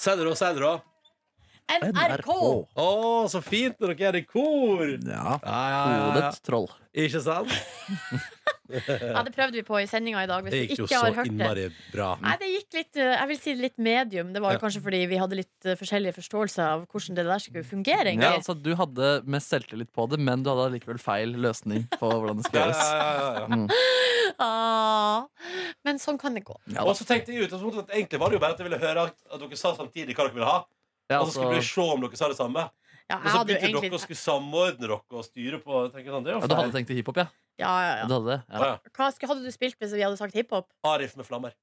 Sier dere sier dere NRK. Å, så fint når dere er i kor! Ja. Ja, ja, ja, ja. Hodet troll. Ikke sant? Ja, det prøvde vi på i sendinga i dag, hvis Det du gikk jo ikke så har hørt det. innmari bra. Nei, det gikk litt, eh, jeg vil si litt medium. Det var jo Ja. kanskje fordi vi hadde litt eh, forskjellige forståelser av hvordan det der skulle fungere. Ja, egentlig. altså, du hadde mest selvtillit på det, men du hadde allikevel feil løsning på hvordan det skulle gjøres. Ah, men sånn kan det gå. Ja, Og da. så tenkte jeg i utgangspunktet at egentlig var det jo bare at jeg ville høre at, at dere sa samtidig hva dere ville ha. Ja, Og så skulle vi altså, se om dere sa det samme. Og Ja, jeg så hadde jo begynte dere å egentlig skulle samordne dere og styre på tenker jeg sånn, det er ja, jo du hadde feil. tenkt i hiphop, ja? ja, ja, Du ja. hadde det? Ja. Ja, ja. Hva skulle, hadde du spilt hvis vi hadde sagt hiphop? Arif med flammer.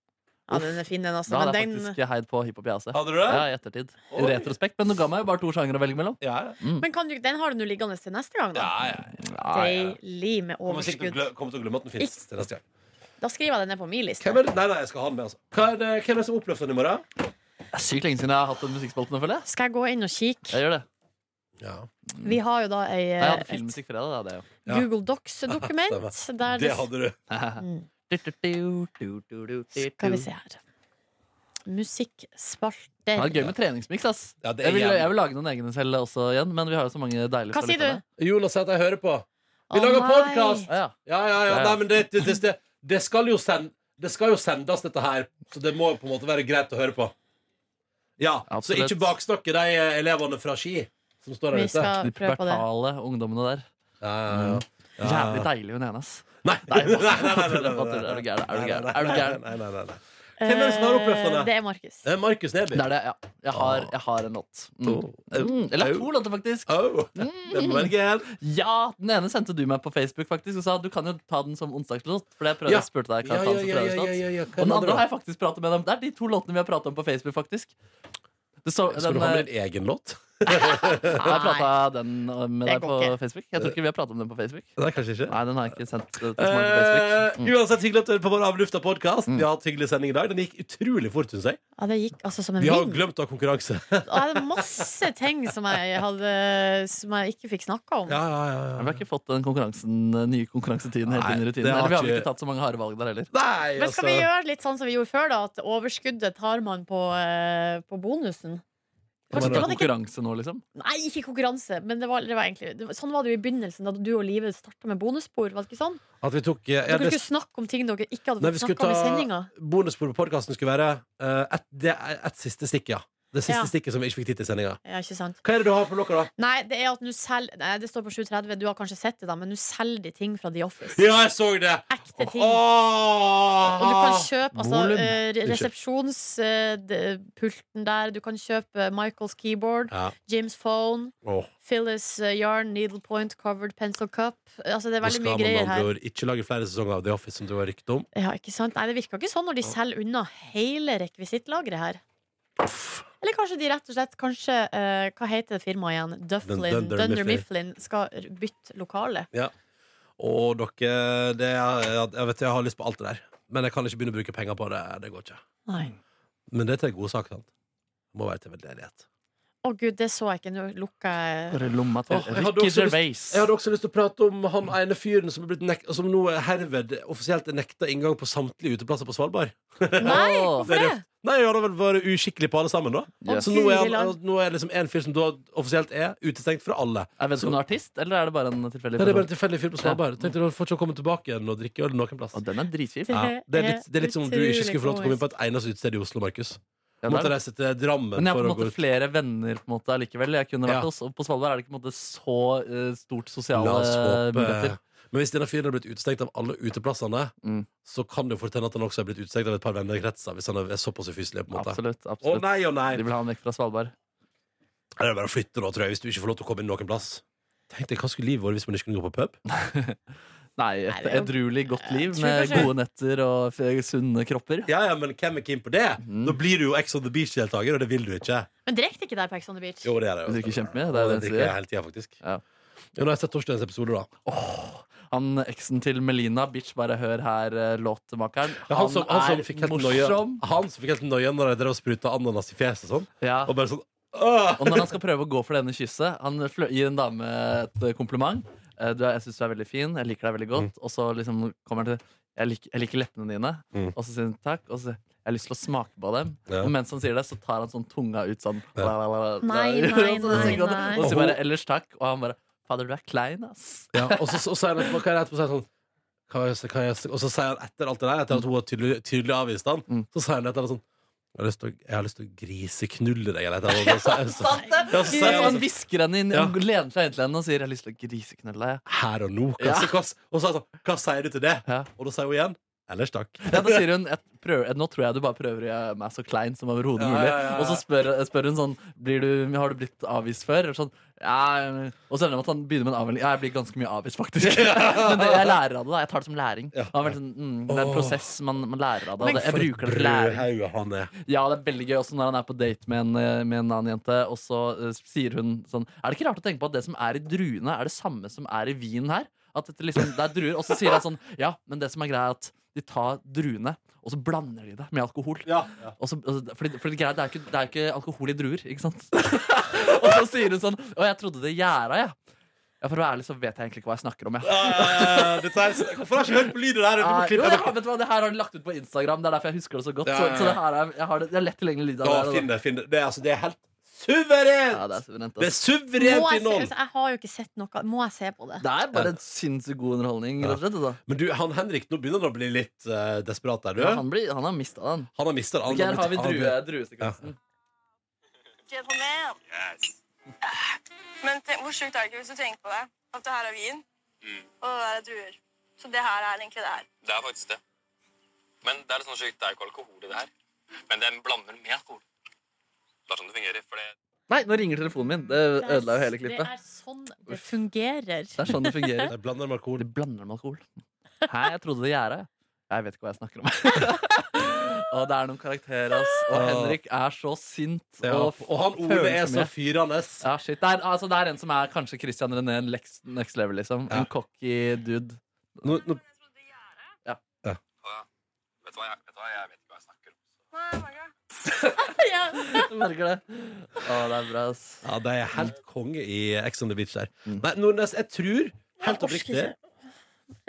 Ja, den er fin, den, altså. Da Men hadde jeg den, faktisk heid på hiphop, jeg også. Hadde du det? Ja, i ettertid. I Oi. retrospekt, men du ga meg jo bare to sjangere å velge mellom. Ja, men kan du, den har du nå liggende til neste gang, ja. da. ja, ja. Deilig med Kommer sikkert til å overskudd. glø- kommer til å glemme at den finnes til neste gang. Da skriver jeg det ned på min liste. Hvem er det? Nei, nei, jeg skal ha den med, altså. Hva er det, hvem er det som er oppløftende i morgen? Det er sykt lenge siden jeg har hatt den musikkspalten, føler jeg. Skal jeg gå inn og kikke? Jeg gjør det. Ja. Vi har jo da ei, eh, Jeg hadde et filmmusikk fredag, det hadde jeg jo. Ja. Google Docs-dokument. der Det hadde du. Mm. Du, du, du, du, du, du, du. Skal vi se her. Det er Musikkspalter. gøy med treningsmiks, ass. Ja, det er jeg, vil, jævlig. jeg vil lage noen egne selv også igjen, men vi har jo så mange deilige Hva fra sier lytterne. du? Jonas sier at jeg hører på. Vi Å, lager nei. podcast! Ah, Ja, ja. ja, ja. Ja, ja. Nei, men det, det, det, det, det skal jo send, det skal jo sendes, dette her. Så det må jo på en måte være greit å høre på. Ja, Så Absolutt. ikke baksnakke de eh, elevene fra Ski som står der Vi ute. skal De prøve på det. pubertale ungdommene der. Mm. Ja, ja, ja. Ja, ja. Jævlig deilig hun ene, ass. Nei, nei, nei, nei, nei, nei, nei, nei, Er du gæren? Er du gæren? nei, Er du nei, gæren? nei, nei, nei, nei. Hvem er det som har oppløftende? Eh, Det er Markus. Det er Ah. Markus Neby. Det er det, ja. Jeg har, jeg har en låt. Mm. Mm. Eller to låter, faktisk. Oh, Mm. det er Bergen. Ja, Den ene sendte du meg på Facebook faktisk og sa du kan jo ta den som onsdagslåt. For jeg prøvde Ja. jeg spurte Ja, deg kan jeg ja, ta den ja, ja, som ja, fredagslåt. ja, ja. Og Hva er den det andre andre har jeg faktisk pratet med dem. Det er de to låtene vi har pratet om på Facebook, faktisk. Det så, da? Skal du ha med den, eh, din egen låt? jeg prata den eh, med Det deg går på ikke. Facebook. Jeg tror ikke vi har pratet om den på Facebook. Nei, kanskje ikke. Nei, den har jeg ikke sendt til så mange på Eh, Facebook. Mm. uansett, hyggelig at du hører på vår Av lufta podcast Vi har hatt hyggelig sending i dag. Den gikk utrolig fort, syns jeg. Ja, det gikk altså som en Vi har jo vind. glemt å ha konkurranse. Og jeg hadde masse ting som jeg, hadde, som jeg ikke fikk snakka om. ja, ja, Vi har ikke fått den konkurransen, den nye konkurransetiden helt Nei, inn i rutinen. det har Eller vi har vel ikke- ikke tatt så mange harde valg der heller. Nei, altså. Men skal vi gjøre litt sånn som vi gjorde før, da? At overskuddet tar man på, eh, på bonusen? Kanskje Kanskje det det er var det ikke konkurranse nå, liksom? Nei, ikke konkurranse, men det var, det var egentlig det var, Sånn var det jo i begynnelsen, da du og Live starta med bonusspor. Var det ikke sånn? At vi tok eh, Dere er det, skulle snakke om ting dere ikke hadde Nei, vi fått skulle snakka om i ta- sendinga. Bonusbord på podkasten skulle være eh, et, det er et siste stikk, ja. Det siste Ja. stikket som vi ikke fikk tid til i sendinga. Ja, ikke sant? Hva er det du har på lokka, da? Nei, det er at nå selger Nei, det står på 7.30, du har kanskje sett det, da, men nå selger de ting fra The Office. Ja, jeg så det! Ekte ting. Åh! Og du kan kjøpe altså, Volum. eh, re- Unnskyld. resepsjonspulten der. Du kan kjøpe Michaels keyboard, Ja. James phone, Åh. Phyllis eh, yarn, needle point, covered pencil cup. Altså, det er Nå veldig skal mye man med greier andre her. ord ikke lage flere sesonger av The Office, som du har rykte om. Ja, ikke sant? Nei, det virker ikke sånn når de selger unna hele rekvisittlageret her. Eller kanskje de rett og slett Kanskje, eh, Hva heter det firmaet igjen? Dufflin? Dunder Dunder Mifflin. Mifflin skal r- bytte lokale. Og dere det er, jeg, jeg vet, jeg har lyst på alt det der. Men jeg kan ikke begynne å bruke penger på det. Det går ikke. Nei. Men det er til en god sak, sant? Det må være til veldedighet. Å gud, det så jeg ikke. Nå lukker jeg Bare lomma til Åh, jeg hadde Ricky også lyst- Gervais. Jeg hadde også lyst til å prate om han ene fyren som, er blitt nek som nå er herved offisielt er nekta inngang på samtlige uteplasser på Svalbard. Nei, Åh, hvorfor det? Nei, han har vel vært uskikkelig på alle sammen, da. Yes. Så nå er, han, Guriland. nå er liksom en fyr som da offisielt er utestengt fra alle. Er Vedkommende noen artist, eller er det bare en tilfeldig Nei, det er bare en person? tilfeldig fyr på Svalbard. Tenkte du får ikke komme tilbake igjen og drikke øl noen plass. Å, den er dritkjip. Ja, det, er litt, det er litt som om du ikke skulle få lov til å komme inn på et eneste utested i Oslo, Markus. Ja, det Måtte er det. reise til Drammen Men jeg har på for en å gå måte ut. flere venner på en måte allikevel. Jeg kunne Ja. vært hos, og på Svalbard er det ikke på en måte så eh, stort sosiale La oss håpe muligheter. Men hvis denne fyren har blitt utestengt av alle uteplassene, Mm. så kan det jo fortelle at han også er blitt utestengt av et par vennekretser. Hvis han er såpass ufyselig, på en måte. Absolutt. Å absolutt. nei, å nei! De vil ha han vekk fra Svalbard. Det er bare å flytte nå, tror jeg, hvis du ikke får lov til å komme inn noen plass. Tenk deg, Hva skulle livet vært hvis man ikke kunne gå på pub? Nei, Nei, et det er jo- edruelig godt liv tror med kanskje- gode netter og f- sunne kropper. Ja, ja, men hvem er keen på det? Mm. Da blir du jo Ex on the Beach-deltaker, og det vil du ikke. Men drekk det ikke der på Ex on the Beach? Jo, det er det. Du drikker kjempemye, det er Ja, jo altså. det det drikker jeg jeg hele tida, faktisk. Ja. Ja, nå har jeg sett torsdagens episode, da. Han eksen til Melina, bitch, bare hør her, eh, låtmakeren. Ja, han, som, han, som fikk helt nøye, morsom. han som fikk helt nøye når jeg drev og spruta ananas i fjeset og sånn. Ja. Og bare sånn Åh! Og når han skal prøve å gå for denne kysset Han flø- gir en Eh, dame et kompliment Eh, du er, Jeg synes du er veldig fin, jeg liker deg veldig godt Og så liksom kommer han til jeg liker, jeg liker leppene dine. Mm. Og så sier han takk. Og så jeg har lyst til å smake på dem. Ja. Og mens han sier det, så tar han sånn tunga ut sånn. Ja. la, la, la, la. Nei, nei, Og så sier han- nei, nei. Og så sier bare 'ellers takk', og han bare 'fader, du er klein', ass. Ja, og så og så er det hva er det etterpå, så er det sånn hva er det- hva er det- Og så sier han etter alt det der, etter at hun har tydelig, tydelig avvist han, Mm. så sier han etter det sånn Jeg har lyst til å, jeg har lyst til å griseknulle deg, eller et eller annet. Og så- sånn, så- Ja, så Så sier han altså, han sånn, hvisker henne inn, Ja. og lener seg inn til henne og sier 'jeg har lyst til å griseknulle deg'. Her og nå. Hva, Ja. så, hva, og så er det sånn Hva sier du til det? Ja. Og da sier hun igjen Ellers takk. Ja, da sier hun jeg prøver, Nå tror jeg du bare prøver å gjøre meg så klein som overhodet Ja, mulig. ja, ja. Og så spør, spør hun sånn blir du, Har du blitt avvist før? Eller sånn, ja. Og så ender det med at han begynner med en avmelding. Ja, jeg blir ganske mye avvist, faktisk. Men det, jeg lærer av det. da, Jeg tar det som læring. Ja. Han er veldig sånn, mm, det er en Åh. prosess man, man lærer av det. og det. Jeg For et bruker det til læring. brødhaue han er. Ja, det er veldig gøy også når han er på date med en, eh, med en annen jente, og så eh, sier hun sånn Er det ikke rart å tenke på at det som er i druene, er det samme som er i vinen her? At dette liksom, det er druer, Og så sier han sånn Ja, men det som er greia, er at de tar druene, og så blander de det med alkohol. Ja, ja. Og så, og så- fordi, fordi greia, det, er jo ikke, det er jo ikke alkohol i druer, ikke sant? og så sier hun sånn Å, jeg trodde det gjæra, jeg. Ja, for å være ærlig så vet jeg egentlig ikke hva jeg snakker om, jeg. Eh, dette er, hvorfor har jeg ikke hørt på lyden der? Du må Nei, Ah, jo, klippe jeg det. har, vet du hva, det her har de lagt ut på Instagram. Det er derfor jeg husker det så godt. Ja, ja, ja. Så, så det her er, jeg har det, det er lett tilgjengelig lyd av Da, det. her, finn da. det, finn det. Det er, altså, det er helt suverent! Ja, det er suverent. det ass. er Må suverent jeg, se, innhold! altså, jeg har jo ikke sett noe. Må jeg se på det? Det er bare en sinnssykt god underholdning. Rett og slett, altså. Men du, han Henrik, nå begynner han å bli litt eh, desperat der, du. ja, han, blir, han har mista den. Han har mista det. Han Her har vi blitt- han drue, blitt- druesekvensen. Gentleman. Eh, Men tenk, hvor sjukt er det ikke hvis du tenker på det? At det her er vin, og det der er druer. Så det her er egentlig det her. Det er faktisk det. Men det er litt sånn sjukt, det er jo ikke alkohol i det her. Men den blander med alkohol. Det er sånn det fungerer. For det Nei, nå ringer telefonen min. Det Det er- ødela jo hele Det klippet. er sånn det fungerer. Det er sånn det fungerer. Jeg blander med alkohol. De blander med alkohol. Hæ, jeg trodde det gjæra. jeg. Jeg vet ikke hva jeg snakker om. og det er noen karakterer, ass. Og Ja. Henrik er så sint Ah. Ja, og, og han Ole er så følelsesmye. fyrende. Ja, shit. Det er, altså, det er en som er kanskje Christian René next, next level, liksom. Ja. En cocky dude. Nå, nå, Å ja. Vet du hva, jeg, vet du hva, jeg vet ikke hva jeg snakker om. Nei, Marga. Ja. Du merker det. Å, det er bra, ass. ja, det er helt konge i Ex on the Beach der. Mm. Nei, Nordnes, jeg tror Jeg helt orker oppriktig ikke.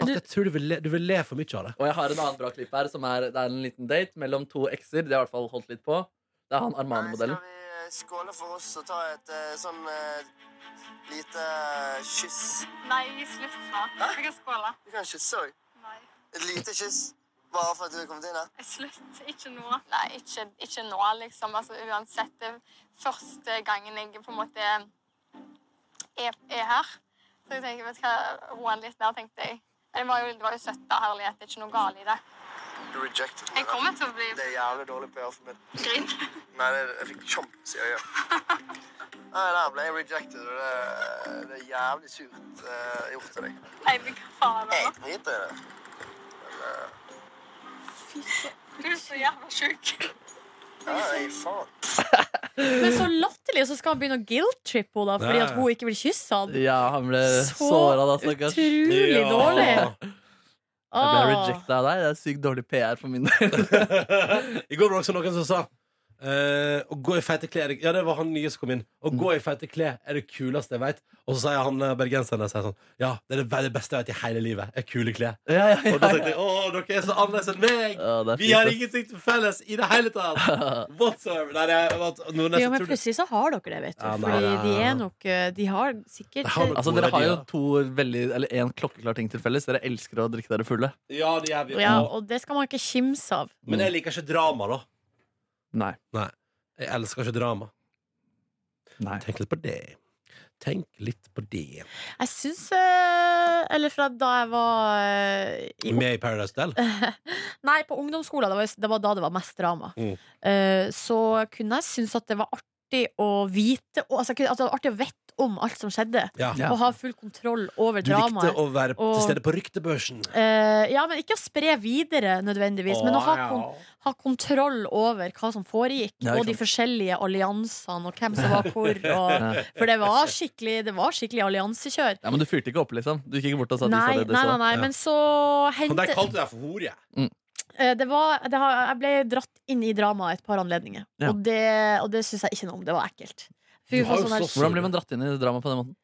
at jeg tror du vil le, du vil le for mye av det. Og jeg har en annen bra klipp her. Som er, det er en liten date mellom to ekser. De har i hvert fall holdt litt på. Det er han Armani-modellen. Skal vi eh, skåle for oss og ta et eh, sånn eh, lite eh, kyss? Nei, slutt snart. Vi kan skåle. Vi kan kysse òg. Nei, Et lite kyss. Bare for at du har kommet inn her. slutt. Ikke nå. Nei, ikke, ikke nå, liksom. Altså, uansett, det er første gangen jeg på en måte er, er her. Så jeg tenker, vet du hva, roe han litt ned, tenkte jeg. Men det var jo, det var jo søtt da, herlighet. Det er ikke noe galt i det. Du rejected Jeg kommer til å bli Det er jævlig dårlig PR for min. grinn. Nei, det, jeg fikk kjamps i øyet. Nei, der ble jeg rejected, og det, det er jævlig surt eh, gjort av deg. Nei, vi kan faen Jeg driter i det. Men eh, Du er så jævla sjuk. nei, faen. Men så latterlig, og så skal han begynne å guilt-trippe henne da, fordi Ja. at hun ikke vil kysse han. Ja, han ble Så såra da, stakkars. utrolig dårlig. Ah. Ja. Jeg Åh. ble rejecta av deg. Det er sykt dårlig PR for min del. I går var det også noen som sa eh, å gå i feite klær Ja, det var han nye som kom inn. Å gå Mm. i feite klær er det kuleste jeg veit. Og så sier han eh, bergenseren der sier sånn Ja, det er det veldig beste jeg vet i hele livet. Er kule klær. Ja, ja, Og da ja. tenkte jeg å, dere er så annerledes enn meg. Ja, det er Vi fint, har ass. ingenting til felles i det hele tatt! Whatsoever. Nei, det er, at- nå nesten Jo, men tror du- plutselig så har dere det, vet du. Ja, nei, Fordi nei, de nei. er nok eh, De har sikkert Det har nok- Altså, Dere har jo Gode verdier. to veldig, eller en klokkeklar ting til felles. Dere elsker å drikke dere fulle. Ja, det gjør vi. Ja, og det skal man ikke kimse av. Men jeg liker ikke drama, da. Nei. Jeg elsker ikke drama. Nei. Tenk litt på det. Tenk litt på det. Jeg syns eh, Eller fra da jeg var eh, i Med i Paradise Del. Eh, Nei, på ungdomsskolen, det var, det var da det var mest drama. Mm. Eh, så kunne jeg synes at det var artig å vite og, altså, At det var artig å vite om alt som skjedde. Ja. Ja. Og ha full kontroll over Du likte dramaet. å være til Og- stede på ryktebørsen. Eh, ja, men ikke å spre videre nødvendigvis, men å ha, kon ha kontroll over hva som foregikk. Ja, ikke og de sant. forskjellige alliansene, og hvem som var hvor. Og, Ja. for det var skikkelig, det var skikkelig alliansekjør. Ja, men du fyrte ikke opp, liksom? Du gikk ikke bort og sa at du Nei, sa nei, det du nei, sa? nei, Ja. men så Han der hendte kalte deg for hore. Eh, det var, det har, jeg ble dratt inn i drama et par anledninger, Ja. og det, og det syns jeg ikke noe om. Det var ekkelt. For Du vi har får jo sånn der- slåss. Hvordan blir man dratt inn i drama på den måten?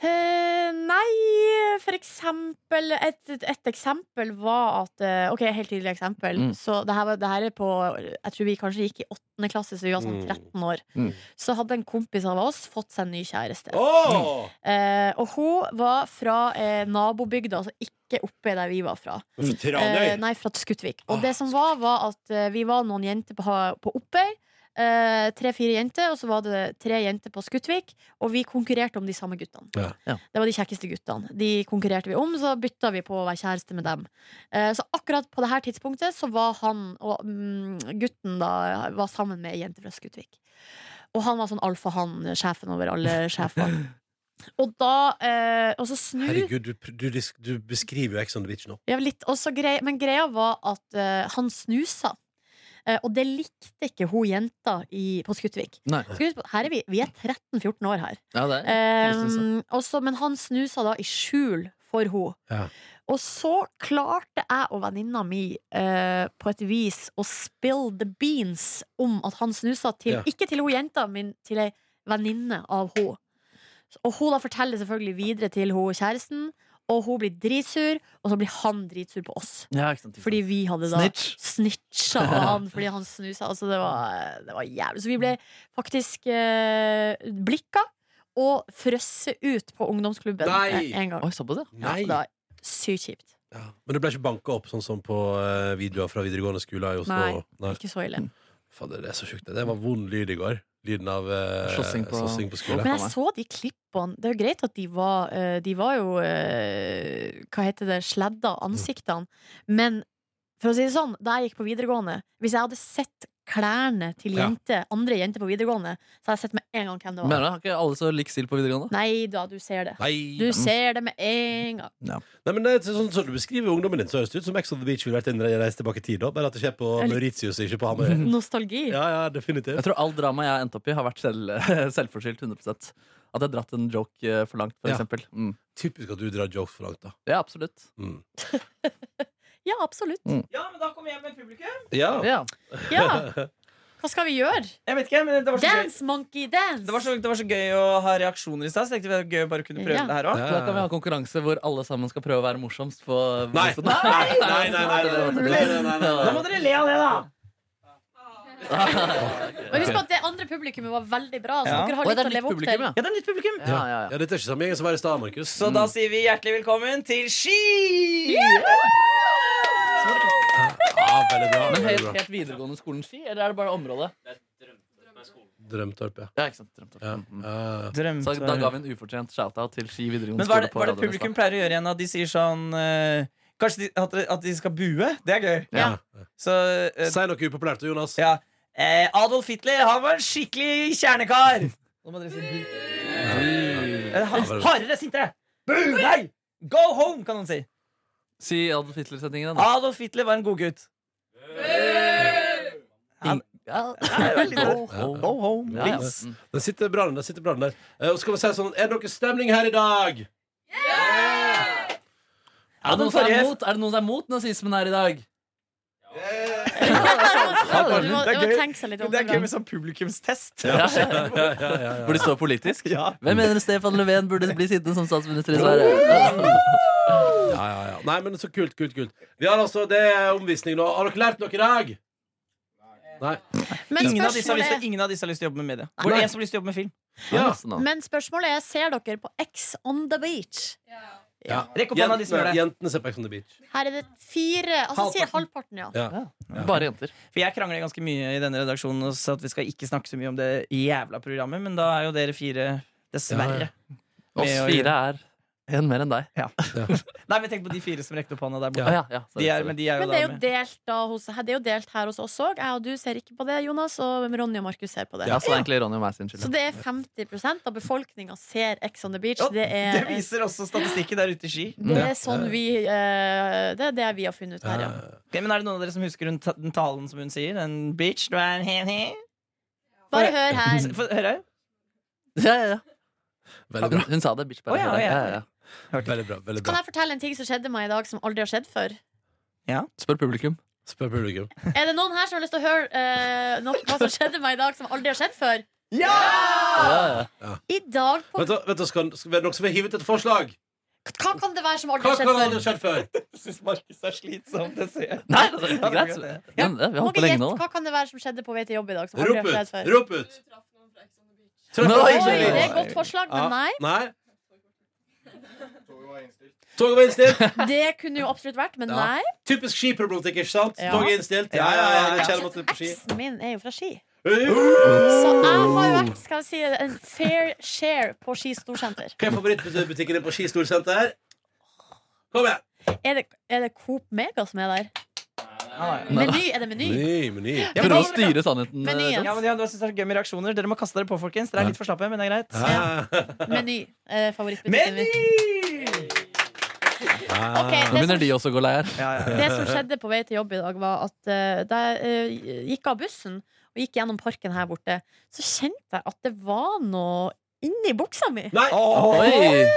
Eh, nei, for eksempel Et, et, et eksempel var at eh, Ok, helt tydelig eksempel. Mm. Så det her, var, det her er på Jeg tror vi kanskje gikk i åttende klasse, så vi var sånn Mm. 13 år. Mm. Så hadde en kompis av oss fått seg en ny kjæreste. Åh! Eh, og hun var fra eh, nabobygda, altså ikke oppe der vi var fra. Men Fra Eh, Tranøy? nei, fra Skutvik. Ah, Og det som var, var at eh, vi var noen jenter på, ha- på Oppøy. eh, Tre-fire jenter, og så var det tre jenter på Skutvik. Og vi konkurrerte om de samme guttene. Ja. Ja. Det var de kjekkeste guttene. De konkurrerte vi om, så bytta vi på å være kjæreste med dem. Eh, Så akkurat på det her tidspunktet så var han og mm, gutten da var sammen med ei jente fra Skutvik. Og han var sånn alfahann, sjefen over alle sjefer. Og da eh, Og så snur Herregud, du, pr- du, dis- du beskriver jo Ex on the Beach nå. ja, litt, og så grei, men greia var at eh, han snusa. Eh, og det likte ikke hun jenta i, på Skutvik. Nei. Skal huske på- Her er vi, vi er 13-14 år her. Ja, det er. altså. Eh, og så- men han snusa da i skjul for henne. Ja. Og så klarte jeg og venninna mi eh, på et vis å spill the beans om at han snusa til Ja. Ikke til hun jenta, men til ei venninne av henne. Og hun da forteller selvfølgelig videre til hun kjæresten, og hun blir dritsur, og så blir han dritsur på oss. Ja, ikke sant. Fordi vi hadde da Snitch. snitcha av han fordi han snusa. Altså, det var, det var jævlig. Så vi ble faktisk eh, blikka og frosset ut på ungdomsklubben Nei! eh, en gang. Oi, såpass, ja. Ja, Nei! det var sykt kjipt. Ja. Men det ble ikke banka opp sånn som på eh, videoer fra videregående skoler i Oslo? Nei. Nei. Ikke så ille. Fader, det er så sjukt. Det var vond lyd i går. Lyden av eh, Slåssing på- slåssing på skole. Men for jeg meg. så de klippene. Det er jo greit at de var eh, De var jo eh, Hva heter det? Sledda ansiktene. Men for å si det sånn, da jeg gikk på videregående Hvis jeg hadde sett klærne til Ja. jente, andre jenter på videregående, så hadde jeg sett med en gang hvem det var. Mener du, har ikke alle så lik stil på videregående? Nei da, du ser det. Nei. Du ser det med en gang. Nei, men det er sånn som du beskriver ungdommen din, så høres det ut som Ex on the Beach ville vært en reise tilbake i tid. da Bare at det skjer på Jeg er litt- Mauritius, ikke på Mm. Hamøy. Nostalgi. Ja, ja, definitivt. Jeg tror all drama jeg har endt opp i, har vært selv, selvforskyldt 100 At jeg har dratt en joke eh, for langt, for Ja. eksempel. Mm. Typisk at du drar jokes for langt, da. Ja, absolutt. Mm. Ja, absolutt. Ja, men da kommer jeg med publikum. Ja. Ja. Ja. Hva skal vi gjøre? Jeg vet ikke, men det var så gøy. Dance, monkey, dance! Det var, så, det var så gøy å ha reaksjoner i stad, så jeg tenkte det var gøy å bare kunne prøve Ja. det her òg. Ja. Så da kan vi ha en konkurranse hvor alle sammen skal prøve å være morsomst. På, Nei. på- Nei, nei, nei, nei, nei, nei, nei, nei, nei. Da må dere le av det, da! Og husk på at det andre publikummet var veldig bra, så Ja. dere Oi, har det litt å er leve nytt opp til. publikum, ja. Ja, det er nytt publikum. Ja, ja, ja. Ja, dette er ikke samme gjengen som var i stad, Markus. Mm. Så Mm. da sier vi hjertelig velkommen til Ski! Ja, veldig bra. Men Veldig helt, bra. helt videregående skolen ski, eller er det bare området? Drømtorp, ja. Ja, ikke sant, drømte ja. om. Mm. ja. Drømte Så da ga vi en ufortjent shout-out til Ski videregående Men hva er det, skole. på hva er det Radio publikum Nesta. pleier å gjøre igjen? At de sier sånn eh, Kanskje de, at, at de skal bue? Det er gøy. Ja. Så eh, Si noe upopulært, Jonas. ja. Eh, Adolf Hitler, han var en skikkelig kjernekar! Nå må dere si bu. Eh, han- Hardere, sintere! Bu! Nei! Go home, kan han si. Si Adolf Hitler-setningen. da. Adolf Hitler var en godgutt. Ing- Ja. Go home. Go home, Ja, ja. please. Mm. Den sitter bra, den der. sitter bra, den der. Eh, og så kan vi si sånn, Er det noe stemning her i dag? Er det den noen som er forrige- mot, er det noen som er mot nazismen her i dag? Ja, Du må, Det er du må gøy. tenke seg litt om. Det er gøy det med sånn publikumstest. Hvor de står politisk? Ja. Hvem mener Stefan Löfven burde bli sittende som statsminister i Sverige? Ja, ja, ja. Nei, men så kult, kult, kult. Vi har altså, Det er omvisning nå. Har dere lært noe i dag? Nei. bra. Men Ingen av, disse har lyst til, spørsmålet, ingen av disse har lyst til å jobbe med media. Hvor er det en som har lyst til å jobbe med film? Ja. Nesten, da. men spørsmålet er Ser dere på X on the beach? Ja. Rekk opp hånda, de Jentene, som gjør det. jentene ser på Ex on the Beach. Her er det fire Altså sier halvparten, ja. Ja. Bare jenter. For jeg krangler ganske mye i denne redaksjonen og sa at vi skal ikke snakke så mye om det jævla programmet, men da er jo dere fire Ja, dessverre. Oss med å fire er en mer enn deg. gjøre- Nei, men tenk på de fire som rekte opp hånda der borte. Å, ja, ja, sorry, De er, sorry. men de er jo Men det er da jo med. delt, da, hos, det er jo delt her hos oss òg. Jeg og du ser ikke på det, Jonas, og Ronny og Markus ser på det. Ja, så det er egentlig Ronny og meg sin skyld. Så det er 50 av befolkninga ser Ex on the beach. Ja, Det er, Det viser også statistikken der ute i Ski. det er sånn vi eh, Det er det vi har funnet ut her, ja. Eh, Ok, men er det noen av dere som husker hun ta- den talen som hun sier? Den bitch, du er en he-he? Bare hør her. Få høre. Ja, ja, ja. Veldig Hun, bra. hun sa det, bitch. Bare, Å, ja, hør deg. ja, ja. Ja, ja. Veldig bra, veldig bra. Kan jeg fortelle en ting som skjedde meg i dag, som aldri har skjedd før? Spør publikum. Spør publikum. Er det noen her som har lyst til å høre eh, noe, hva som skjedde meg i dag, som aldri har skjedd før? Ah! Ja! Ja, I dag på Vent, da, vent, da, skal, skal, er det noen som vil hive ut et forslag? Hva kan det være som aldri Hva har kan aldri skjedd ha før? skjedd før? Jeg syns Markus er slitsom. Det ser jeg. Nei, det er greit. Ja, det Men, ja, Må vi har holdt vi på lenge gjette, nå. da. Hva kan det være som skjedde på vei til jobb i dag? Som aldri Rop har skjedd ut! før? Rop ut! Traff Nei, noen Oi, fra det Ex on the er Beach. et godt forslag, Ja. men nei. Nei? Toget var innstilt. Det kunne jo absolutt vært, men Ja. nei. Typisk skiproblematikk, ikke sant? Ja. Toget er innstilt. Ja, ja, ja, jeg kjenner meg til på ski. Eksen min er jo fra Ski. Hva Så jeg har jo vært skal vi si, en fair share på Ski storsenter. er favorittbutikken din på Ski storsenter? Kom igjen! Er det, er det Coop Mega som er der? Ja, Nei, da. Meny? Er det Meny? meny. Ja, Prøv å men- styre sannheten. Men eh, igjen. Tom. men ja, det synes jeg er så gøy med reaksjoner. Dere må kaste dere på, folkens. Dere er litt for slappe, men det er greit. Ah. Meny er eh, favorittbutikken Meny! min. Ah. Ok, Nå det, begynner som, de også å gå lei her. Ja, ja, ja. det som skjedde på vei til jobb i dag, var at eh, da jeg eh, gikk av bussen og gikk gjennom parken her borte, så kjente jeg at det var noe inni buksa mi. Nei! Oi!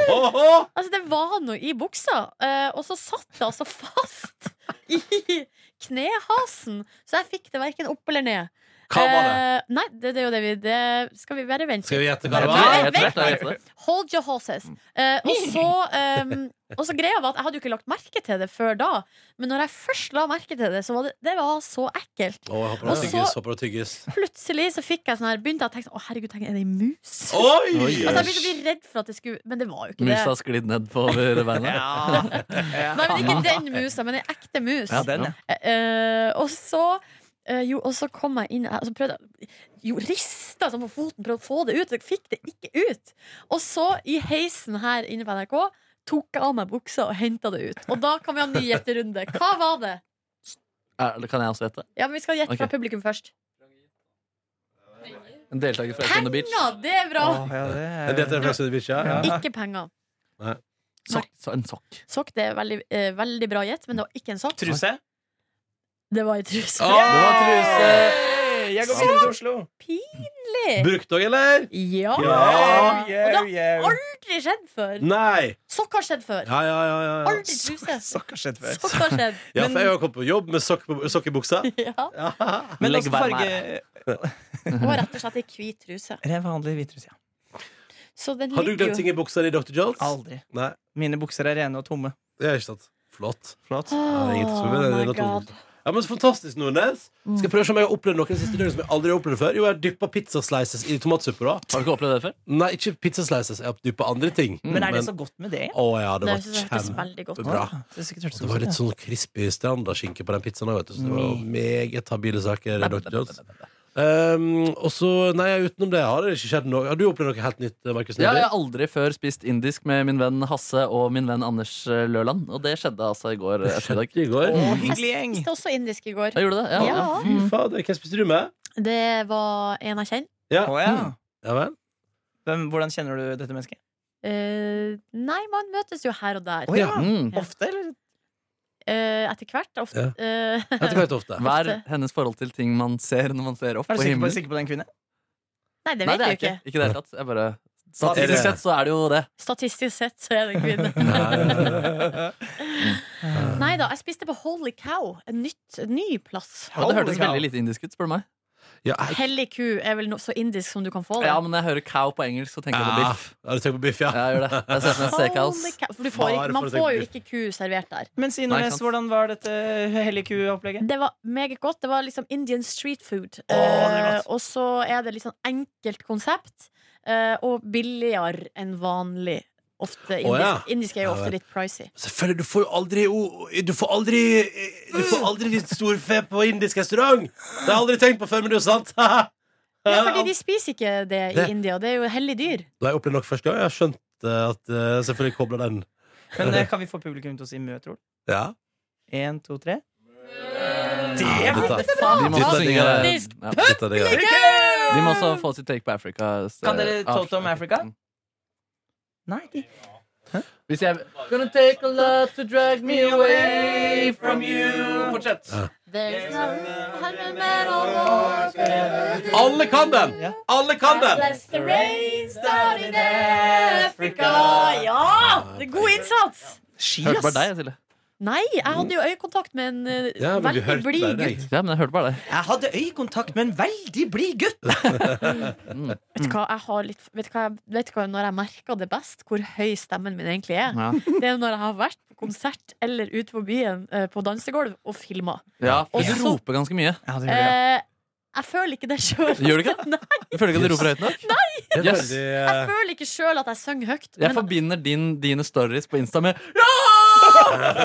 Altså, det var noe i buksa, eh, og så satt det altså fast i knehasen. Så jeg fikk det verken opp eller ned. Hva var det? Eh, nei, det, det er jo det vi det Skal vi bare vente? Skal vi gjette hva Jeg det tror var? jeg- jeg tror jeg klarer å gjette det. Hold your horses. Eh, og, så, ehm, og så greia var at jeg hadde jo ikke lagt merke til det før da. Men når jeg først la merke til det, så var det, det var så Å, ekkelt. jeg håper det Og så- tygges. Håper det tygges. Plutselig så fikk jeg sånn her begynte jeg å tenke sånn, Å, herregud, tenk, er det ei mus? Oi! Altså, jeg begynte å bli redd for at det skulle Men det var jo ikke Musa det. har sklidd nedover beina. Ja. Nei, men Ikke den musa, men ei ekte mus. Ja, den, ja. Eh, og så eh, jo, og så kom jeg inn altså prøvde, jeg- Jo, rista sånn på foten, prøvde å få det ut. Jeg fikk det ikke ut. Og så, i heisen her inne på NRK, tok jeg av meg buksa og henta det ut. Og da kan vi ha en ny gjetterunde. Hva var det? Er- Kan jeg også gjette? Ja, men Vi skal gjette fra Ok. publikum først. En deltaker fra Ex on the Beach. Penger! Det er bra! Åh, ja, det Er er- dette en flaks on the beach, ja? Ja. Ikke penger. Sokk. så- En sokk. Sokk det er veldig, eh, veldig bra gjett, men det var ikke en sokk. Truse? Det var ei truse. Åh! Det var truse. Hey, Jeg går videre til Oslo. Pinlig! Brukt òg, eller? Ja! Yeah, Og det yeah, har yeah. aldri skjedd før. Nei! Sokk har skjedd før. Ja, ja, ja. ja, ja. Aldri truse. Sokk har skjedd før. Sokk har skjedd. ja for jeg har kommet på jobb med sokk, på- sokk i buksa. Ja. Men Legg også varmen farge Det var rett og slett ei hvit truse. Det er vanlig hvit truse. Ja. Så den Har du ligger glemt jo ting i buksa di, Dr. Jones? Aldri. Nei, Mine bukser er rene og tomme. det er ikke sant. Flott. Flott. Ja, det er ingenting som- Oh det er my noe God. Mm. tungt. Ja, men så Fantastisk, Nordnes. Skal jeg prøve å se om jeg har opplevd noe det siste døgnet som jeg aldri har opplevd før. Jo, jeg har dyppa pizzaslices i tomatsuppe. da Har du ikke opplevd det før? Nei, ikke pizzaslices. Jeg har dyppa andre ting. Men er det så godt med det? Å ja, det Det var synes jeg hørtes kjempebra. veldig godt ut. Og Det, er sikkert hørtes Det var godt litt ut, sånn crispy strandaskinke på den pizzaen. da, Vet du. Så det var meget habile saker, Dr. Jones. Um, og så, nei, utenom det har det ikke skjedd noe. Har du opplevd noe helt nytt, Markus Ja, jeg Neby? har aldri før spist indisk med min venn Hasse og min venn Anders eh, Løland. Og det skjedde altså i går eh, ettermiddag. I går. ja. Å, hyggelig Jeg gjeng. spiste også indisk i går. Jeg gjorde det, ja. Ja. Fy fader, hvem spiste du med? Det var en jeg kjenner. Ja, Mm. Å, ja. ja vel. Hvem, hvordan kjenner du dette mennesket? Eh, nei, man møtes jo her og der. Å, ja. Mm. Ofte, eller? Eh, etter hvert. Ofte. Eh, Etter hvert ofte. Hva er hennes forhold til ting man ser når man ser opp Er du på sikker på, himmelen? sikker på den kvinne? nei, det Nei, vet vi det er jo ikke. ikke. Ikke i det hele tatt. Jeg bare Er det- Statistisk sett så er det jo det. Statistisk sett så er det en kvinne. Nei, nei, nei. nei da, jeg spiste på Holy Cow. En nytt, en ny plass. Og det Holy hørtes cow. veldig lite indisk ut, spør du meg. Ja, jeg- Hellig ku er vel no så indisk som du kan få det. Ja, men når jeg hører cow på engelsk, så tenker jeg på Ah, biff. har du tenkt på biff, ja? Ja, Jeg gjør det. Jeg ser for meg steakhouse. Holy cow. For du får, Bare ikke- man for å får jo tenke ikke ku servert der. Men si Nei, Nordnes, sant. hvordan var dette hellige ku-opplegget? Det var meget godt. Det var liksom Indian street food. Åh, det er Eh, godt. og så er det litt sånn enkelt konsept, eh, og billigere enn vanlig. Ofte indisk. ja. indisk er jo Ja, vel. ofte litt pricy. Selvfølgelig, du får jo aldri o- Du får aldri Du får aldri ditt storfe på indisk restaurant! Det har jeg aldri tenkt på før, men det er jo sant. Ja, fordi de spiser ikke det i Det- India. Det er jo hellig dyr. Da har jeg opplevd nok første gang. Jeg har skjønt eh, at eh, Selvfølgelig kobla den. Men eh, kan vi få publikum til å si mø, tror du? Ja. En, to, tre. Ja, dette- De må også Dette synge er- Faktisk ja. dette er det jeg- De må også få sitt Take på eh, Africa. s- Kan dere av- Toto om Africa? Nei, de Mm. Hvis jeg Gonna take a lot to drag me away from you Fortsett. There's no hundred men on board, Alle kan den! Ja. Alle kan den! bless the rains down in Africa. Ja! Det er god innsats! Ski, Hørte bare ass! deg, Silje. Nei, jeg hadde jo øyekontakt med en eh, Ja, men vi veldig hørte blid bare deg. gutt. Ja, men jeg hørte bare det. Jeg hadde øyekontakt med en veldig blid gutt. Mm. Vet du hva, jeg har litt, vet du hva, jeg- vet du hva når jeg merker det best, hvor høy stemmen min egentlig er? Ja. Det er når jeg har vært på konsert eller ute på byen eh, på dansegulv og filma. ja, for Også- du roper ganske mye. Eh, jeg føler ikke det sjøl. Gjør du ikke Nei, Du føler ikke at du roper høyt nok? Det er Yes. veldig, eh, jeg føler ikke sjøl at jeg synger høyt. Jeg men- forbinder din, dine stories på Insta med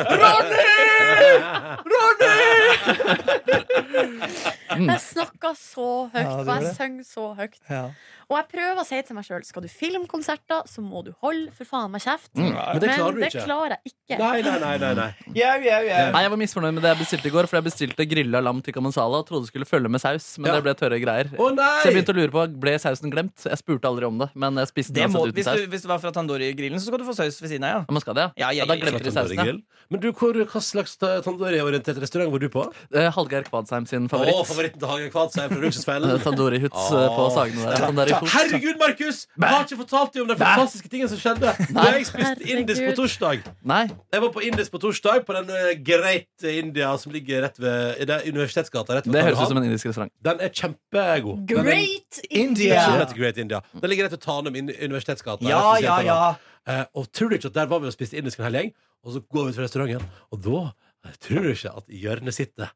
Jeg snakker så høyt, Ja, du og jeg gjorde det. synger så høyt. Ja. Og jeg prøver å si til meg sjøl skal du filme konserter, så må du holde for faen meg kjeft. Men det klarer du det ikke. klarer jeg ikke. Nei, nei, nei. nei, nei. Jau, jau, jau. Nei, jeg var misfornøyd med det jeg bestilte i går, for jeg bestilte grilla lam tikka masala og trodde det skulle følge med saus, men Ja. det ble tørre greier. Å nei! Så jeg begynte å lure på, ble sausen glemt? Jeg spurte aldri om det, men jeg spiste Det den må, uansett hvis, uten saus. du, hvis du var fra Tandori-grillen, så skal du få saus ved siden av. ja Ja, Men skal det, Ja, ja ja, da ja, ja. glemte de sausen, ja. Men du, hvor, hva slags tandori-orientert restaurant var du på? Eh, Hallgeir Kvadsheim sin favoritt. Å, favoritten til Hagen Kvadsheim fra Eh, Luksusfellen. Tandoori Huts eh, på Sagene der. Tandoori Huts. Herregud, Markus! Jeg har ikke fortalt deg om den fantastiske tingen som skjedde da jeg spiste Herregud. indisk på torsdag. Nei. Jeg var på Indisk på torsdag, på den eh, Great India som ligger rett ved i det er Universitetsgata. Rett ved Det høres Tanum. ut som en indisk restaurant. Den er kjempegod. Den er- Great! Jeg tror Den India! heter Great India. Den ligger rett ved Tanum in- Universitetsgata. Ja, rett ved siden ja, av ja. Tanum. Eh, og tror du ikke at der var vi og spiste indisk en hel gjeng, og så går vi ut fra restauranten, og da eh, tror du ikke at i hjørnet sitter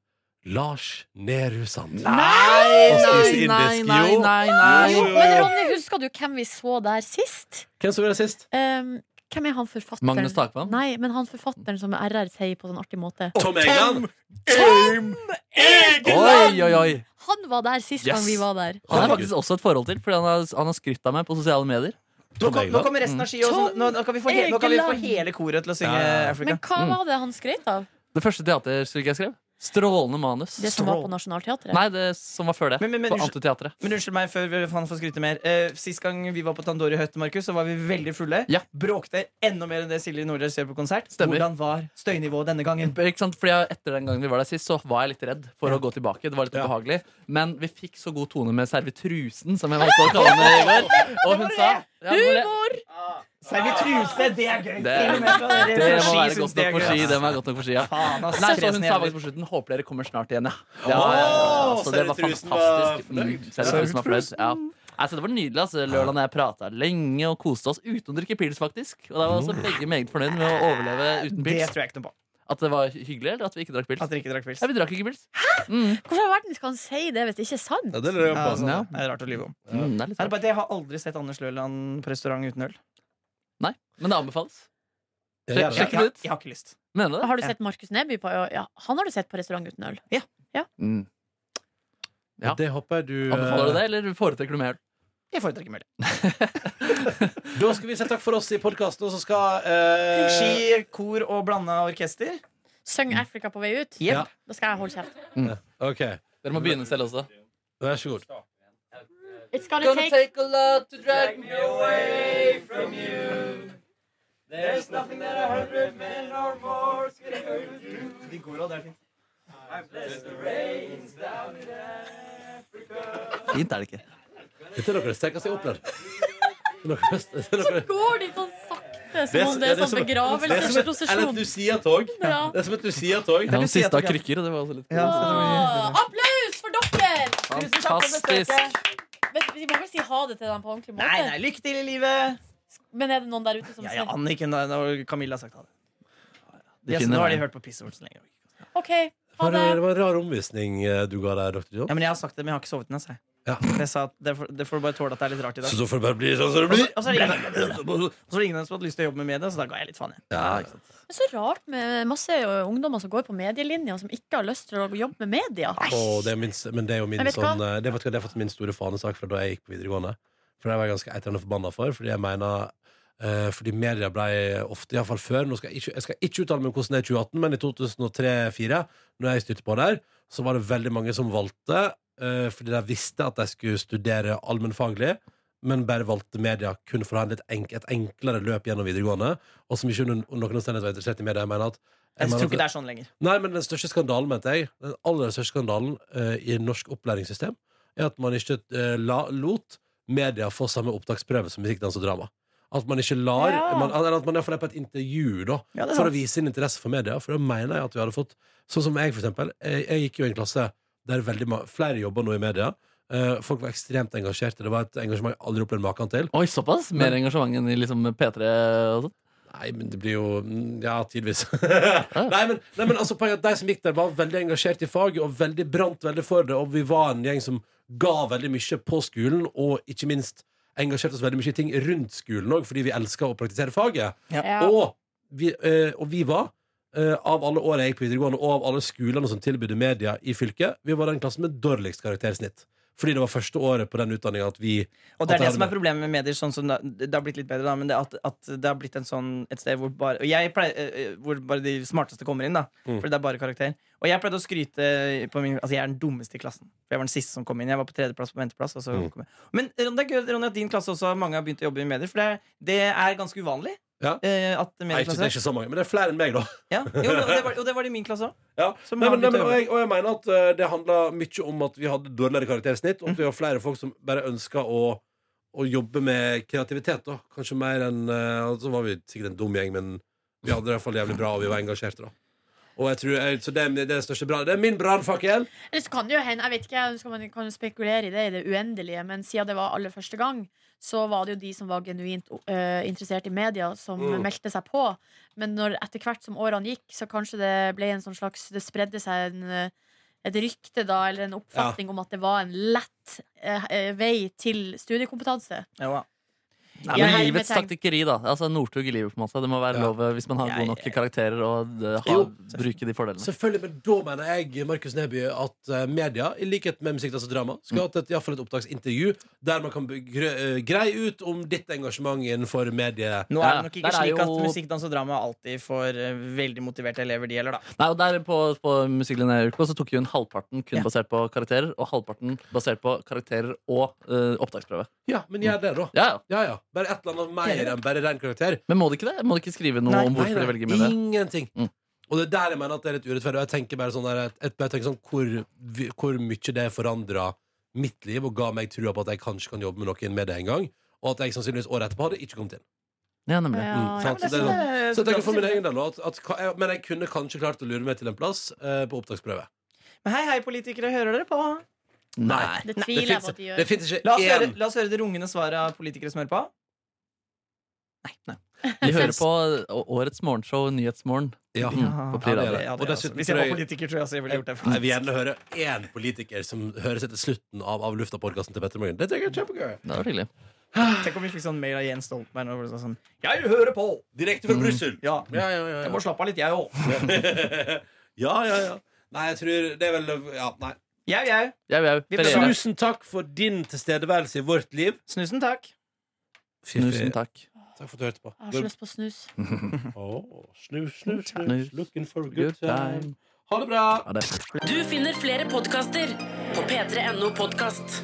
Lars Nehru Sand. Og spiser indisk. Jo. Jo, Jo, jo, men jo. Ronny, husker du hvem vi så der sist? Hvem som var det sist? Um, hvem er han forfatteren? Magnus Takvam? Nei, men han forfatteren som RR sier på en artig måte. Tom Egan. Oi, oi, oi. Han var der sist Yes. gang vi var der. Han har faktisk også et forhold til, fordi han har, han har skrytt av meg på sosiale medier. Nå, Tom kom, nå Egan. kommer resten av skiet. også. Nå, nå, kan vi få he- nå kan vi få hele koret til å synge Ja. Africa. Men hva Mm. var det han skrøt av? Det første teaterstykket jeg skrev. Strålende manus. Det som var på Nationaltheatret? Nei, det som var før det. Men- men- men- på Antiteatret. Men unnskyld meg før vi- han får skryte mer. Eh, sist gang vi var på Tandori Høtt, Markus, så var vi veldig fulle. Ja. Bråkte enda mer enn det Silje Nordnes gjør på konsert. Stemmer. Hvordan var støynivået denne gangen? Ikke sant? Fordi jeg, Etter den gangen vi var der sist, så var jeg litt redd for å gå tilbake. Det var litt Ja. ubehagelig Men vi fikk så god tone med servitrusen, som jeg valgte å kalle henne i går. Og hun sa ja, det, var det. Servitruse, det er gøy! Det- Til og med fra dere det må fra ski være synes godt det er nok på gøy, ski. ass. Det må være godt nok på ski ja. Faen, ass. Nei, så hun Kresne sa jævler. faktisk på slutten Håper dere kommer snart igjen, ja. Åh, Så det var servitrusen fantastisk. var fornøyd. Mm, servitrusen var fornøyd. Ja. Nei, så det var nydelig. Altså. Lørdag når jeg prata lenge og koste oss uten å drikke pils, faktisk. Og da var også begge meget fornøyd med å overleve uten Det pils. tror jeg ikke noe på. At det var hyggelig, eller at vi ikke drakk pils? At dere ikke drakk pils. Ja, vi drakk ikke pils. Mm. Hvorfor i all verden skal han si det hvis det ikke er sant? Ja, det lurer jeg Ja, på. sånn, Ja. Det er rart å lyve om. Mm, det er litt Er det rart. bare at Jeg har aldri sett Anders Løland på restaurant uten øl. Men det anbefales. Jeg gjør det. Jeg, Sjekk jeg, det ut. jeg har ikke lyst. Mener du det? Har du sett Markus Neby på ja, Han har du sett på restaurant uten øl. Mm. Ja. Det håper jeg du Anbefaler du det, eller foretrekker du mer? Jeg foretrekker møl. eh, Da skal vi si takk for oss i podkasten, og så skal eh, Ski, kor og blanda orkester. Syng Mm. Afrika på vei ut. Yep. Ja. Da skal jeg holde kjeft. OK, Dere må begynne selv også. vær så god. It's gonna take a lot to drag me De går av, det er fint. Fint er det ikke. Dette er noe av det sterkeste jeg har opplevd. Det er noe- det er noe- Går de sånn sakte, er- som om det ja, som- det er er sånn som et- Eller et begravelsesprosesjon? Lucia-tog. Ja. Det er som et Lucia-tog. Ja, du den si at siste av dere- krykker, og det var også litt Åh, Applaus for dere! fantastisk. Men Vi må vel si ha det til dem på ordentlig måte? Nei, nei, lykke til i livet! Men er det noen der ute som Ja, sier ja, Anniken og- og Camilla har sagt ha det. De Ja, så finner nå har de veien. hørt på pissord så lenge. OK, Var ha det? det, det var en rar omvisning eh, du ga der, dr. Ja, John. men jeg har sagt det, men jeg har ikke sovet den, altså. Ja. Jeg sa at det får, det får du bare tåle at det er litt rart i dag. Så da får det bare bli sånn som det Og blir. så- og så er det ingen- og så er det ingen som hadde lyst til å jobbe med media, så da ga jeg litt faen. Jeg. Ja, ikke sant. Det er så rart med masse ungdommer som går på medielinja, som ikke har lyst til å jobbe med media. Åh, det er min, s- men det er jo min Jeg vet sånn eh, det, vet du hva, det er faktisk min store fanesak fra da jeg gikk på videregående. For det var jeg ganske eitrende forbanna for, fordi jeg mener eh, fordi media ble ofte, iallfall før nå skal jeg, ikke, jeg skal ikke uttale meg om hvordan det er i 2018, men i 2003-2004, når jeg styrte på der, så var det veldig mange som valgte, eh, fordi de visste at de skulle studere allmennfaglig, men bare valgte media kun for å ha en litt enk, et enklere løp gjennom videregående, og som ikke under noen omstendighet var interessert i media. Jeg mener at Jeg mener tror at- ikke det er sånn lenger. Nei, men den største skandalen, mente jeg, den aller største skandalen eh, i norsk opplæringssystem, er at man ikke eh, la, lot media få samme opptaksprøve som musikk, dans og drama. At man ikke lar Ja. man, Eller at man iallfall er på et intervju, da. Ja, det er for å sant. vise sin interesse for media. For da mener jeg at vi hadde fått Sånn som jeg, for eksempel. Jeg, jeg gikk jo i en klasse der veldig ma flere jobber nå i media. Eh, folk var ekstremt engasjerte. Det var et engasjement jeg aldri opplevd maken til. Oi, såpass? Mer engasjement enn i liksom P3 og sånn? Nei, men det blir jo mm, Ja, tidvis. nei, men, nei, men altså, poenget er at de som gikk der, var veldig engasjert i faget og veldig brant veldig for det. Og vi var en gjeng som ga veldig mye på skolen, og ikke minst engasjerte oss veldig mye i ting rundt skolen òg, fordi vi elska å praktisere faget. Ja. Og, vi, eh, og vi var, eh, av alle åra jeg gikk på videregående, og av alle skolene som tilbød media i fylket, vi var den klassen med dårligst karaktersnitt. Fordi det var første året på den utdanninga at vi Og det At det er det er som er det. problemet med medier. Sånn som det, det har blitt litt bedre, da, men det at, at det har blitt en sånn, et sted hvor bare, og jeg pleier, eh, eh, hvor bare de smarteste kommer inn. da Mm. Fordi det er bare karakter. Og jeg pleide å skryte på min, Altså jeg er den dummeste i klassen. For Jeg var den siste som kom inn. Jeg var på tredjeplass på venteplass. Og så Mm. kom jeg. Men Ron, det er gøy Ronny, at din klasse også mange har begynt å jobbe i medier, for det, det er ganske uvanlig. Ja. eh, at Nei, ikke, det er medieklasse ikke så mange, men det er flere enn meg, da. ja. jo, og, det var, og det var det i min klasse òg. Ja. Som Nei, har men, nei, blitt men, og, øvre. jeg, og jeg mener at eh, det handla mye om at vi hadde dårligere karaktersnitt, og at vi var flere folk som bare ønska å, å jobbe med kreativitet. Da. Kanskje mer enn eh, Så var vi sikkert en dum gjeng, men vi hadde det i hvert fall jævlig bra, og vi var engasjerte, da. Og jeg tror, jeg, så det, er- det er den største brann. Det er min brannfakkel! Eller så kan det jo hende, jeg vet ikke, nå skal man kan jo spekulere i det i det uendelige, men siden det var aller første gang, så var det jo de som var genuint øh, interessert i media, som Mm. meldte seg på. Men når, etter hvert som årene gikk, så kanskje det ble en sånn slags Det spredde seg en, øh, et rykte, da, eller en oppfatning om at det var en lett øh, øh, vei til studiekompetanse. Jo, da. Jeg Nei, men heier med livets tegn. taktikkeri, da. Altså Northug i livet, på en måte. Det må være Ja. lov eh, hvis man har Ja, gode nok jeg- karakterer og eh, ha, Jo. bruke de fordelene. Selvfølgelig, men da mener jeg Markus Neby, at eh, media, i likhet med Musikk, dans og drama, skal ha hatt et, i hvert fall et opptaksintervju der man kan begre, eh, greie ut om ditt engasjement innenfor medie... Nå Ja, er det ja. nok Der ikke er slik at jo- musikk, dans og drama alltid får eh, veldig motiverte elever, de heller, da. Nei, og der På, på Musikklinjeruka så tok jo hun halvparten kun Ja. basert på karakterer, og halvparten basert på karakterer og eh, opptaksprøve. Ja, men gjør det, da. Ja, ja. Ja, ja. Bare et eller annet mer enn bare ren karakter. Men må de ikke det? Må de ikke skrive noe Nei, om hvorfor Nei, de nei, velger med det? Ingenting. Mm. Og det er der jeg mener at det er litt urettferdig. Og jeg tenker bare sånn der, jeg- jeg bare tenker sånn hvor, vi- hvor mye det forandra mitt liv og ga meg trua på at jeg kanskje kan jobbe med noen med det en gang. Og at jeg sannsynligvis året etterpå hadde ikke kommet inn. Ja, nemlig. Mm, sant? så, det er men sånn, sånn- så jeg tenker for min egen del nå at, at, ka- jeg- Men jeg kunne kanskje klart å lure meg til en plass eh, på opptaksprøve. Men hei, hei, politikere, hører dere på? Nei. Det Det tviler jeg på fins at de gjør. det fins ikke La oss, høre, én la oss høre det rungende svaret av politikere som hører på. Nei. nei. Vi hører på eh, årets morgenshow, Nyhetsmorgen. ja. Mm, på Pri Ja, det Radio. er det. Ja, Og det dessuten er altså. Hvis jeg tror jeg- var politiker, tror jeg også jeg ville gjort det. Jeg vil gjerne høre én politiker som høres etter slutten av Av lufta-podkasten til Petter Morgen. Det tenker jeg er kjempegøy. Det var hyggelig. Tenk om vi fikk sånn mail av Jens Stoltenberg. Og sånn, jeg hører på! Direkte fra Brussel. Ja, Ja, ja, ja, jeg ja. må slappe av litt, jeg òg. ja, ja, ja. Nei, jeg tror det er vel ja, nei. Jau, jau. Jau, jau. Vi Feriere. Tusen takk for din tilstedeværelse i vårt liv. Snusen, takk. Tusen takk. Takk for at du hørte på. Jeg har så lyst på snus. Åh, snu, snu, snu. Snus. Looking for a Good time. Ha det bra! Ha det. Du finner flere podkaster på p3.no podkast.